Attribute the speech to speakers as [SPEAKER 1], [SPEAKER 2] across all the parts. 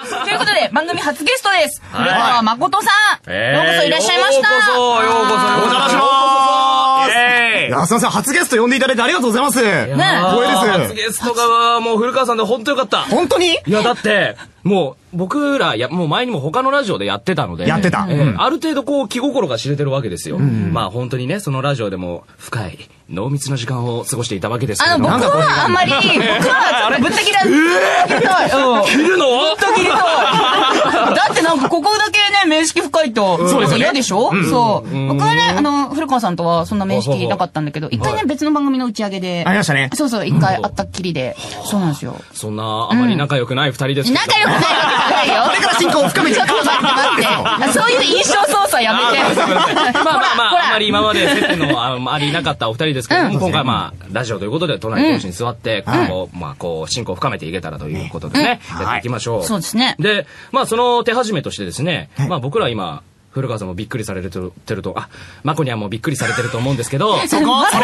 [SPEAKER 1] ということで、番組初ゲストです。古川誠さん。
[SPEAKER 2] え
[SPEAKER 1] よ
[SPEAKER 2] ー
[SPEAKER 1] うこそいらっしゃいました。
[SPEAKER 2] ようこそ、ようこそ。
[SPEAKER 1] あー
[SPEAKER 2] ようこそ
[SPEAKER 3] お邪魔します
[SPEAKER 2] イェーイ
[SPEAKER 3] いや、すいません、初ゲスト呼んでいただいてありがとうございます。
[SPEAKER 1] ね
[SPEAKER 2] あー
[SPEAKER 3] 光栄です
[SPEAKER 2] 初ゲストが、もう古川さんで本当よかった。
[SPEAKER 3] 本当に
[SPEAKER 2] いや、だって、もう、僕ら、や、もう前にも他のラジオでやってたので。
[SPEAKER 3] やってた
[SPEAKER 2] ええある程度こう、気心が知れてるわけですよ。まあ本当にね、そのラジオでも、深い、濃密な時間を過ごしていたわけですけ
[SPEAKER 1] あ
[SPEAKER 2] れど
[SPEAKER 1] の、
[SPEAKER 2] も。
[SPEAKER 1] 僕はあんまり、僕は、ぶった切ら、切りたい。うん
[SPEAKER 2] 切るの
[SPEAKER 1] ぶった切りたい。だってなんか、ここだけね、面識深いと、そうです嫌でしょそう。僕はね、あの、古川さんとはそんな面識なかったんだけど、一回ね、別の番組の打ち上げで。
[SPEAKER 3] ありましたね
[SPEAKER 1] そうそう、一回会ったっきりで。そうなんですよ。
[SPEAKER 2] そんな、あまり仲良くない二人ですけど。
[SPEAKER 1] 仲良くないわけないよ。
[SPEAKER 3] これから進行を深めて
[SPEAKER 1] ちょっと待って待って。そういう印象操作やめて。
[SPEAKER 2] まあまあま
[SPEAKER 1] ほら
[SPEAKER 2] あ、あんまり今まで接点のあまりなかったお二人ですけども、
[SPEAKER 1] うん
[SPEAKER 2] 今回まあ、ラジオということで、隣同士に座って、こう、まあ、こう、進行を深めていけたらということでね、
[SPEAKER 3] うん
[SPEAKER 2] やっていきましょう。
[SPEAKER 1] そうですね
[SPEAKER 2] で、まあ、その手始めとしてですね
[SPEAKER 3] はい、
[SPEAKER 2] まあ、僕ら今、古川さんもびっくりされてるてると、あ、マコニャンもびっくりされてると思うんですけど、
[SPEAKER 1] そこ待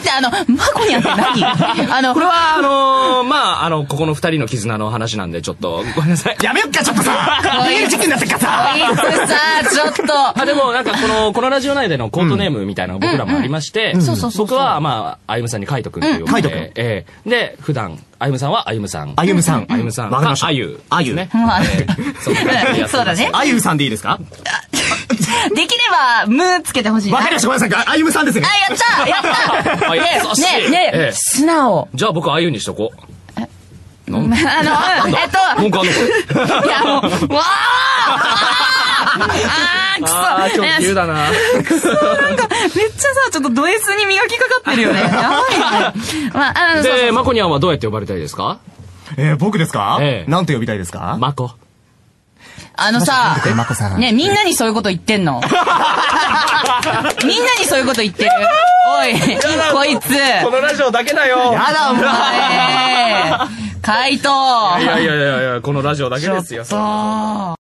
[SPEAKER 1] って、あの、マコニャンって何あの、
[SPEAKER 2] これは、あのーまあ、あの、ここの二人の絆の話なんで、ちょっと、ごめんなさい。
[SPEAKER 3] やめよっか、ちょっ とさ。逃げる時期になってっからさ。
[SPEAKER 1] いつさ、ちょっと。
[SPEAKER 2] あでもなんか この、このラジオ内でのコートネームみたいなのが僕らもありまして、
[SPEAKER 1] そうそうそうそう
[SPEAKER 2] 僕はまあ、あゆむさんにカイトくんと呼んで、
[SPEAKER 3] カイトくん
[SPEAKER 2] ええで、普段、あゆむさんはあゆむさん。
[SPEAKER 3] あゆむさん。
[SPEAKER 2] あゆむさん。
[SPEAKER 3] わかりました。
[SPEAKER 2] あゆ。
[SPEAKER 3] あゆ。
[SPEAKER 2] ね。
[SPEAKER 1] まあ
[SPEAKER 2] そう
[SPEAKER 1] そうだね。
[SPEAKER 3] あゆさんでいいですか
[SPEAKER 1] できれば、むつけてほしいな。
[SPEAKER 3] わかりました、ごめんなさい。あゆむさんですね。
[SPEAKER 1] あ、やったやった
[SPEAKER 2] あ優しい
[SPEAKER 1] ね、ね、
[SPEAKER 2] え
[SPEAKER 1] ね
[SPEAKER 2] え、
[SPEAKER 1] 素直。
[SPEAKER 2] じゃあ僕あゆにしとこう。
[SPEAKER 1] あの、うんえっ
[SPEAKER 2] 文
[SPEAKER 1] と、
[SPEAKER 2] 句あんの
[SPEAKER 1] いや、もう、わーあーあー、くそ。ね
[SPEAKER 2] だな。
[SPEAKER 1] なんか、めっちゃさ、ちょっとド S に磨きかかってる よね。やばいね。まあ、あの、そうそう
[SPEAKER 2] で、マコニャンはどうやって呼ばれたいですか
[SPEAKER 3] えー、僕ですか
[SPEAKER 2] ええ
[SPEAKER 3] なんて呼びたいですか
[SPEAKER 2] マコ。
[SPEAKER 1] あのさ
[SPEAKER 3] えまこさ、ん
[SPEAKER 1] ね、みんなにそういうこと言って んの。みんなにそういうこと言ってる。おい、こいつ。
[SPEAKER 2] のラジオだけだよ。
[SPEAKER 3] やだ、もう。
[SPEAKER 1] 回答。
[SPEAKER 2] いやいやいやいや、このラジオだけですよ。
[SPEAKER 1] そう。